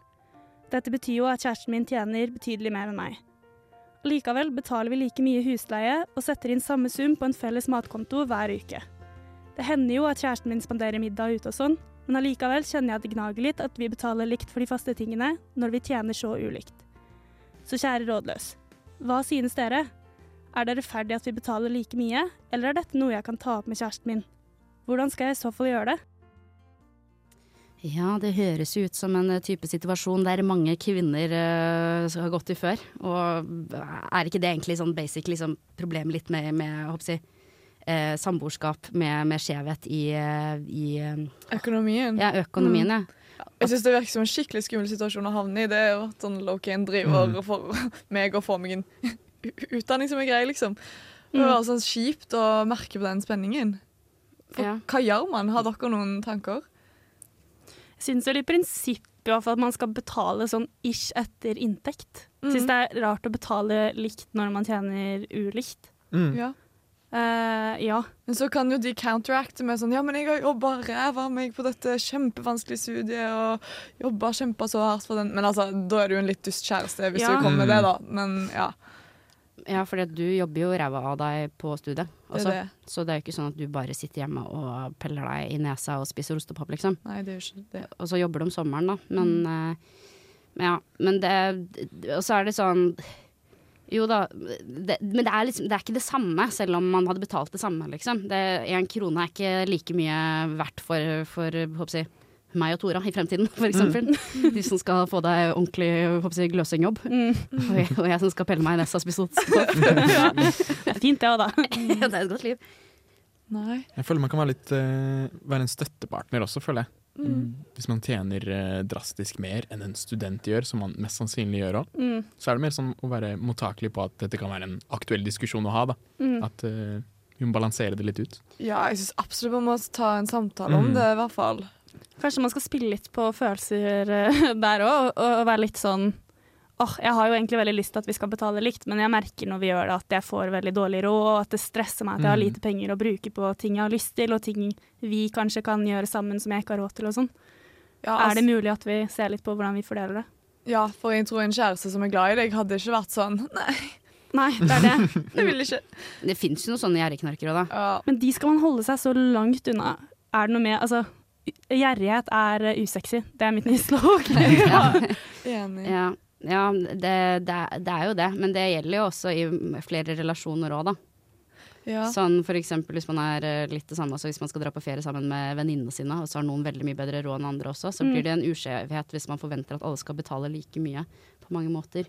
Speaker 4: Dette betyr jo at kjæresten min tjener betydelig mer enn meg. Likevel betaler vi like mye husleie og setter inn samme sum på en felles matkonto hver uke. Det hender jo at kjæresten min spanderer middag ute og sånn, men allikevel kjenner jeg at det gnager litt at vi betaler likt for de faste tingene når vi tjener så ulikt. Så kjære rådløs, hva synes dere? Er det rettferdig at vi betaler like mye, eller er dette noe jeg kan ta opp med kjæresten min? Hvordan skal jeg i så fall gjøre det?
Speaker 3: Ja, det høres jo ut som en eh, type situasjon der mange kvinner eh, som har gått i før. Og er ikke det egentlig sånn basic liksom, problem litt med, med jeg håper å si, eh, samboerskap med, med skjevhet i, eh, i eh,
Speaker 6: Økonomien.
Speaker 3: ja, økonomien? Ja.
Speaker 6: Jeg synes Det virker som en skikkelig skummel situasjon å havne i. Det er jo at sånn Lokan driver og får meg og får meg en utdanning som er grei, liksom. Det
Speaker 4: Mm.
Speaker 6: var sånn kjipt å merke på den spenningen. For
Speaker 3: Ja.
Speaker 6: Hva gjør man? Har dere noen tanker?
Speaker 4: Jeg syns vel i prinsippet i hvert fall at man skal betale sånn ish etter inntekt. Jeg Syns det er rart å betale likt når man tjener ulikt.
Speaker 5: Mm.
Speaker 6: Ja.
Speaker 4: Eh, ja.
Speaker 6: Men så kan jo de counteracte med sånn Ja, men jeg har jobba ræva av meg på dette kjempevanskelige studiet og jobba kjempa så hardt for den Men altså, da er du jo en litt dust kjæreste hvis
Speaker 4: Ja.
Speaker 6: du kommer med det, da. Men ja,
Speaker 3: Ja, for du jobber jo ræva av deg på studiet.
Speaker 6: det
Speaker 3: Også.
Speaker 6: er det.
Speaker 3: Så det er jo ikke sånn at du bare sitter hjemme og peller deg i nesa og spiser ostepop, liksom.
Speaker 6: Nei, det er jo ikke det.
Speaker 3: Og så jobber de om sommeren, da. Men, eh, men ja. Men det Og så er det sånn Jo da, det, men det er, liksom, det er ikke det samme, selv om man hadde betalt det samme, liksom. Én krone er ikke like mye verdt for, for håper jeg, meg og Tora i fremtiden, for eksempel. De som skal få deg ordentlig håper jeg, gløsingjobb. Og, jeg, og jeg som skal pelle meg i nesa og spise ostepop.
Speaker 4: Det er fint, det òg, da.
Speaker 3: det er et godt liv.
Speaker 6: Nei.
Speaker 5: Jeg føler man kan være litt eh, Være en støttepartner også, føler jeg.
Speaker 6: Mm.
Speaker 5: Hvis man tjener eh, drastisk mer enn en student gjør, som man mest sannsynlig gjør òg,
Speaker 4: Mm.
Speaker 5: så er det mer sånn å være mottakelig på at dette kan være en aktuell diskusjon å ha. Da.
Speaker 4: Mm.
Speaker 5: At eh, vi må balansere det litt ut.
Speaker 6: Ja, jeg syns absolutt man må ta en samtale om
Speaker 5: Mm.
Speaker 6: det, i hvert fall.
Speaker 4: Kanskje man skal spille litt på følelser eh, der òg, og, og være litt sånn Åh, jeg har jo egentlig veldig lyst til at vi skal betale likt, men jeg merker når vi gjør det at jeg får veldig dårlig råd, og at det stresser meg at jeg har lite penger å bruke på ting jeg har lyst til, og ting vi kanskje kan gjøre sammen som jeg ikke har råd til og sånn.
Speaker 6: Ja,
Speaker 4: Er det mulig at vi ser litt på hvordan vi fordeler det?
Speaker 6: ja, for jeg tror en kjæreste som er glad i deg, hadde ikke vært sånn Nei,
Speaker 4: Nei, det er det.
Speaker 6: jeg vil ikke.
Speaker 3: Det fins jo noen sånne gjerrigknarkere òg, da.
Speaker 6: Ja.
Speaker 4: Men de skal man holde seg så langt unna. Er det noe med Altså, gjerrighet er eh, usexy. Det er mitt nye slogan.
Speaker 6: Enig.
Speaker 3: Ja, ja det, det, er- det er jo det, men det gjelder jo også i flere relasjoner òg, da.
Speaker 6: Ja.
Speaker 3: Sånn for eksempel hvis man er eh, litt det samme, altså hvis man skal dra på ferie sammen med venninnene sine, og så har noen veldig mye bedre råd enn andre også,
Speaker 6: Mm.
Speaker 3: så blir det en uskjevhet hvis man forventer at alle skal betale like mye på mange måter.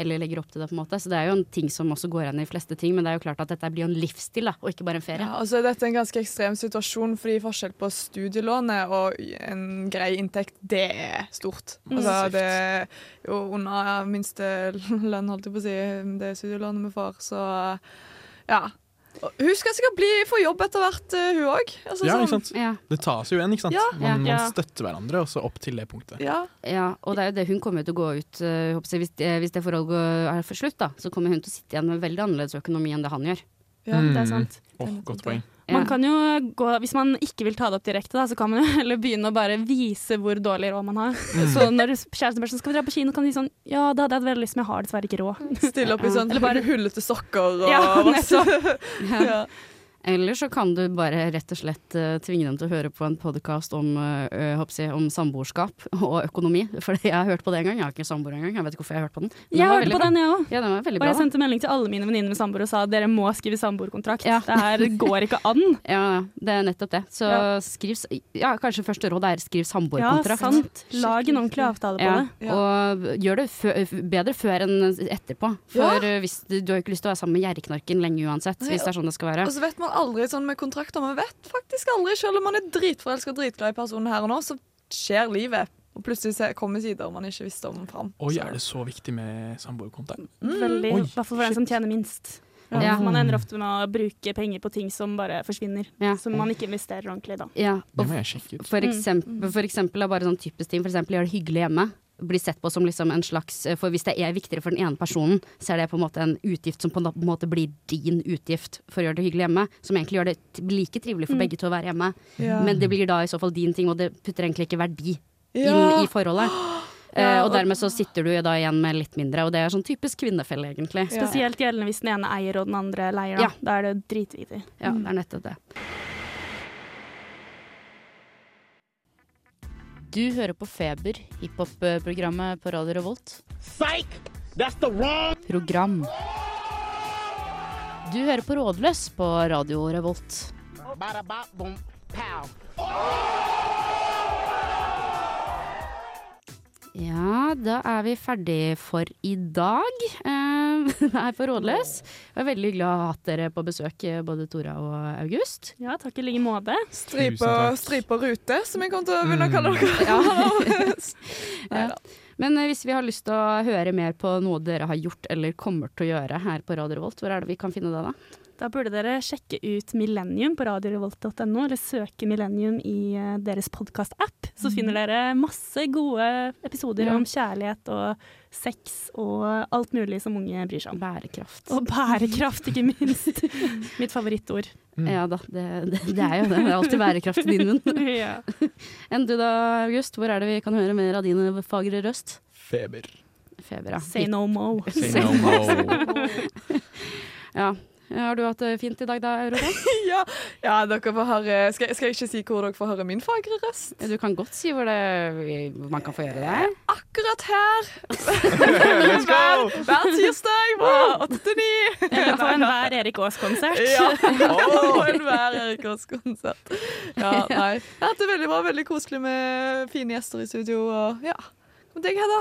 Speaker 3: Eller legger opp til det, på en måte. Så det er jo en ting som også går igjen i de fleste ting, men det er jo klart at dette blir jo en livsstil, da, og ikke bare en ferie.
Speaker 6: Ja, og så er dette en ganske ekstrem situasjon, fordi forskjell på studielånet og en grei inntekt, det er stort. Altså, det er jo under minste lønn, holdt jeg på å si, det studielånet vi får, så ja. Og Hun skal sikkert bli, få jobb etter hvert, eh, hun òg. Altså,
Speaker 5: Ja,
Speaker 6: sånn-
Speaker 5: ikke sant?
Speaker 3: Ja.
Speaker 5: Det tas jo en, ikke sant?
Speaker 6: Ja.
Speaker 5: Man, man
Speaker 4: Ja.
Speaker 5: støtter hverandre også opp til det punktet.
Speaker 6: Ja.
Speaker 3: Ja, og det er jo det hun kommer jo til å gå ut eh, håper jeg, hvis, det, hvis det forholdet går- er for slutt, da, så kommer hun til å sitte igjen med veldig annerledes økonomi enn det han gjør.
Speaker 6: Ja.
Speaker 5: Mm.
Speaker 4: Det er sant.
Speaker 5: Åh, godt poeng.
Speaker 4: Man kan jo gå, hvis man ikke vil ta det opp direkte, da, så kan man jo heller begynne å bare vise hvor dårlig råd man har.
Speaker 3: Mm.
Speaker 4: Så når kjæresten spør sånn, skal vi dra på kino, kan de si sånn ja, det hadde jeg hatt veldig lyst, men jeg har dessverre ikke råd.
Speaker 6: Stille opp i sånn hullete sokker og
Speaker 4: Ja,
Speaker 6: masse. ja.
Speaker 3: Eller så kan du bare rett og slett eh, tvinge dem til å høre på en podkast om, eh, ø, håper jeg, om samboerskap og økonomi. For jeg har hørt på det en gang. Jeg har ikke samboer engang. Jeg vet ikke hvorfor jeg har hørt på den. Men
Speaker 4: Jeg
Speaker 3: var
Speaker 4: hørte
Speaker 3: veldig
Speaker 4: på den, jeg òg.
Speaker 3: bra. Ja, den var veldig
Speaker 4: Og
Speaker 3: bra.
Speaker 4: jeg sendte melding til alle mine venninner med samboer og sa dere må skrive samboerkontrakt.
Speaker 3: Ja.
Speaker 4: Det her går ikke an.
Speaker 3: da. ja, ja, det er nettopp det. Så
Speaker 4: Ja.
Speaker 3: skriv s- Ja, kanskje første råd er skriv
Speaker 4: Ja,
Speaker 3: samboerkontrakt.
Speaker 4: sant. Lag en ordentlig avtale på
Speaker 3: Ja,
Speaker 4: det.
Speaker 6: Ja.
Speaker 3: Og gjør det fø bedre før enn etterpå. For eh, hvis du, du har jo ikke lyst til å være sammen med gjerrigknarken lenge uansett. Hvis det er sånn det skal være.
Speaker 6: Og så vet man aldri sånn med kontrakter. Man vet faktisk aldri, selv om man er dritforelska og dritglad i personen her og nå, så skjer livet. Og plutselig se- kommer sider man ikke visste om fram.
Speaker 5: Oi, er det så viktig med samboerkontakt? Oi,
Speaker 4: Veldig, I hvert fall for den som tjener minst.
Speaker 3: Ja.
Speaker 4: Man ender ofte med å bruke penger på ting som bare forsvinner.
Speaker 3: Ja.
Speaker 4: Som man ikke investerer ordentlig i da.
Speaker 3: Ja,
Speaker 5: Det
Speaker 3: og
Speaker 5: må jeg sjekke ut.
Speaker 3: For
Speaker 6: Mm.
Speaker 3: eksempel, for eksempel er bare sånn typisk ting. For eksempel gjør det hyggelig hjemme. Blir sett på som liksom en slags For hvis det er viktigere for den ene personen, så er det på en måte en utgift som på en måte blir din utgift for å gjøre det hyggelig hjemme. Som egentlig gjør det t- like
Speaker 6: Mm.
Speaker 3: trivelig for begge to å være hjemme. Men det blir da i så fall din ting, og det putter egentlig ikke verdi inn
Speaker 6: Ja.
Speaker 3: i forholdet. Eh,
Speaker 4: Ja,
Speaker 3: og
Speaker 4: og-
Speaker 3: dermed så sitter du da igjen med litt mindre, og det er sånn typisk kvinnefelle, egentlig.
Speaker 6: Ja.
Speaker 4: Spesielt gjeldende hvis den ene eier og den andre leier. Da,
Speaker 3: Ja.
Speaker 4: da er det dritviktig.
Speaker 3: Ja, det er nettopp det.
Speaker 10: Du hører på Feber, hiphop-programmet på Radio Revolt. Program. Du hører på Rådløs på Radio Revolt.
Speaker 3: Ja, da er vi ferdig for i dag eh, her på Rådløs. Jeg er veldig glad å ha hatt dere på besøk, eh, både Tora og August.
Speaker 4: Ja, takk i like måte.
Speaker 5: Tusen
Speaker 6: Stripe
Speaker 5: takk. Mm.
Speaker 6: stripe og rute, som jeg kommer til å begynne å kalle dere. Neida.
Speaker 3: Men eh, hvis vi har lyst til å høre mer på noe dere har gjort eller kommer til å gjøre her på Radio Revolt, hvor er det vi kan finne det da?
Speaker 4: Da burde dere sjekke ut Millennium på radiorevolt.no, eller søke Millennium i eh, deres podkast-app. Så finner dere masse gode episoder
Speaker 3: Ja.
Speaker 4: om kjærlighet og sex og alt mulig som unge bryr seg om.
Speaker 3: Bærekraft.
Speaker 4: Og bærekraft, ikke minst. Mitt favorittord.
Speaker 5: Mm.
Speaker 3: Ja da, det, det, det er jo det. Det er alltid bærekraft i din munn.
Speaker 4: Ja.
Speaker 3: Enn du da, August, hvor er det vi kan høre mer av din fagre røst?
Speaker 5: Feber.
Speaker 3: Feber, ja.
Speaker 4: Say no mo.
Speaker 5: Say no more.
Speaker 3: ja. Har du hatt det fint i dag da, Aurora?
Speaker 6: Ja, ja dere får høre, skal, jeg- skal jeg ikke si hvor dere får høre min fagre røst?
Speaker 3: Du kan godt si hvor, det, hvor man kan få gjøre det.
Speaker 6: Akkurat her! hver, hver tirsdag fra 8 til 9.
Speaker 4: Eller på enhver Erik Aas-konsert.
Speaker 6: Ja, og enhver Erik Aas-konsert. Ja, nei. Jeg har hatt det veldig bra, veldig koselig med fine gjester i studio. Og ja. Og deg, Hedda?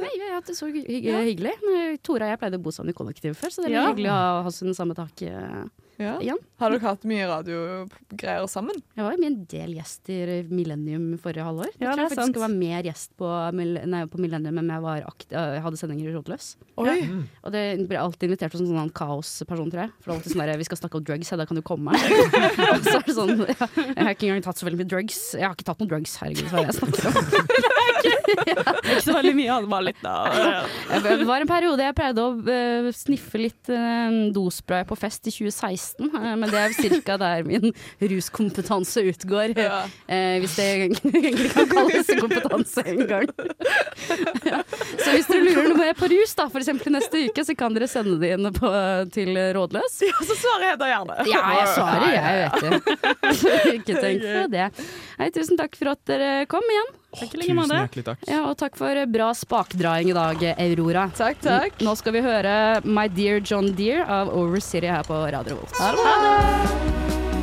Speaker 3: Nei, jeg har hatt det så hy hy- hyggelig. Men Tora og jeg pleide å bo sammen i kollektiv før, så det er
Speaker 4: Ja.
Speaker 3: veldig hyggelig å ha- ha oss under samme tak eh,
Speaker 6: Ja.
Speaker 3: igjen.
Speaker 6: Har dere hatt mye radiogreier sammen?
Speaker 3: Jeg var jo med en del gjest i Millennium forrige halvår. Jeg tror
Speaker 4: Ja,
Speaker 3: jeg
Speaker 4: det er
Speaker 3: faktisk
Speaker 4: sant.
Speaker 3: jeg var mer gjest på, Mil- nei, på Millennium enn jeg var akt eh, hadde sendinger i Rådløs.
Speaker 6: Oi.
Speaker 3: Og det ble alltid invitert som sånn kaosperson, tror jeg. For det var alltid sånn der, vi skal snakke om drugs, ja, da kan du komme. og så er det sånn, ja, jeg har ikke engang tatt så veldig mye drugs. Jeg har ikke tatt noen drugs, herregud, hva er det jeg snakker om.
Speaker 4: Ikke så veldig mye, det var litt da.
Speaker 3: Det var en periode jeg pleide å eh, sniffe litt eh, dospray på fest i 2016, eh, men det er cirka der min ruskompetanse utgår.
Speaker 6: Ja.
Speaker 3: Eh, hvis det egentlig kan kalles kompetanse en gang. ja. Så hvis dere lurer noe på rus, da, for eksempel neste uke, så kan dere sende det inn på, til Rådløs.
Speaker 6: ja, så svarer Hedda gjerne.
Speaker 3: Ja, jeg svarer, jeg, vet du. Ikke tenk på det. Nei, tusen takk for at dere kom igjen.
Speaker 4: Takk i like
Speaker 5: Tusen
Speaker 4: måte.
Speaker 5: hjertelig takk.
Speaker 3: Ja, og takk for bra spakdraging i dag, Aurora.
Speaker 6: Takk, takk.
Speaker 3: Nå skal vi høre My Dear John Deere av Over City her på Radio Volt.
Speaker 6: Ha det bra.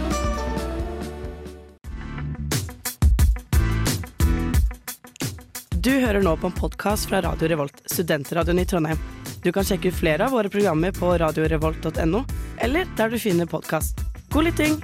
Speaker 11: Du hører nå på en podkast fra Radio Revolt, studentradioen i Trondheim. Du kan sjekke ut flere av våre programmer på radiorevolt.no, eller der du finner podkast. God lytting!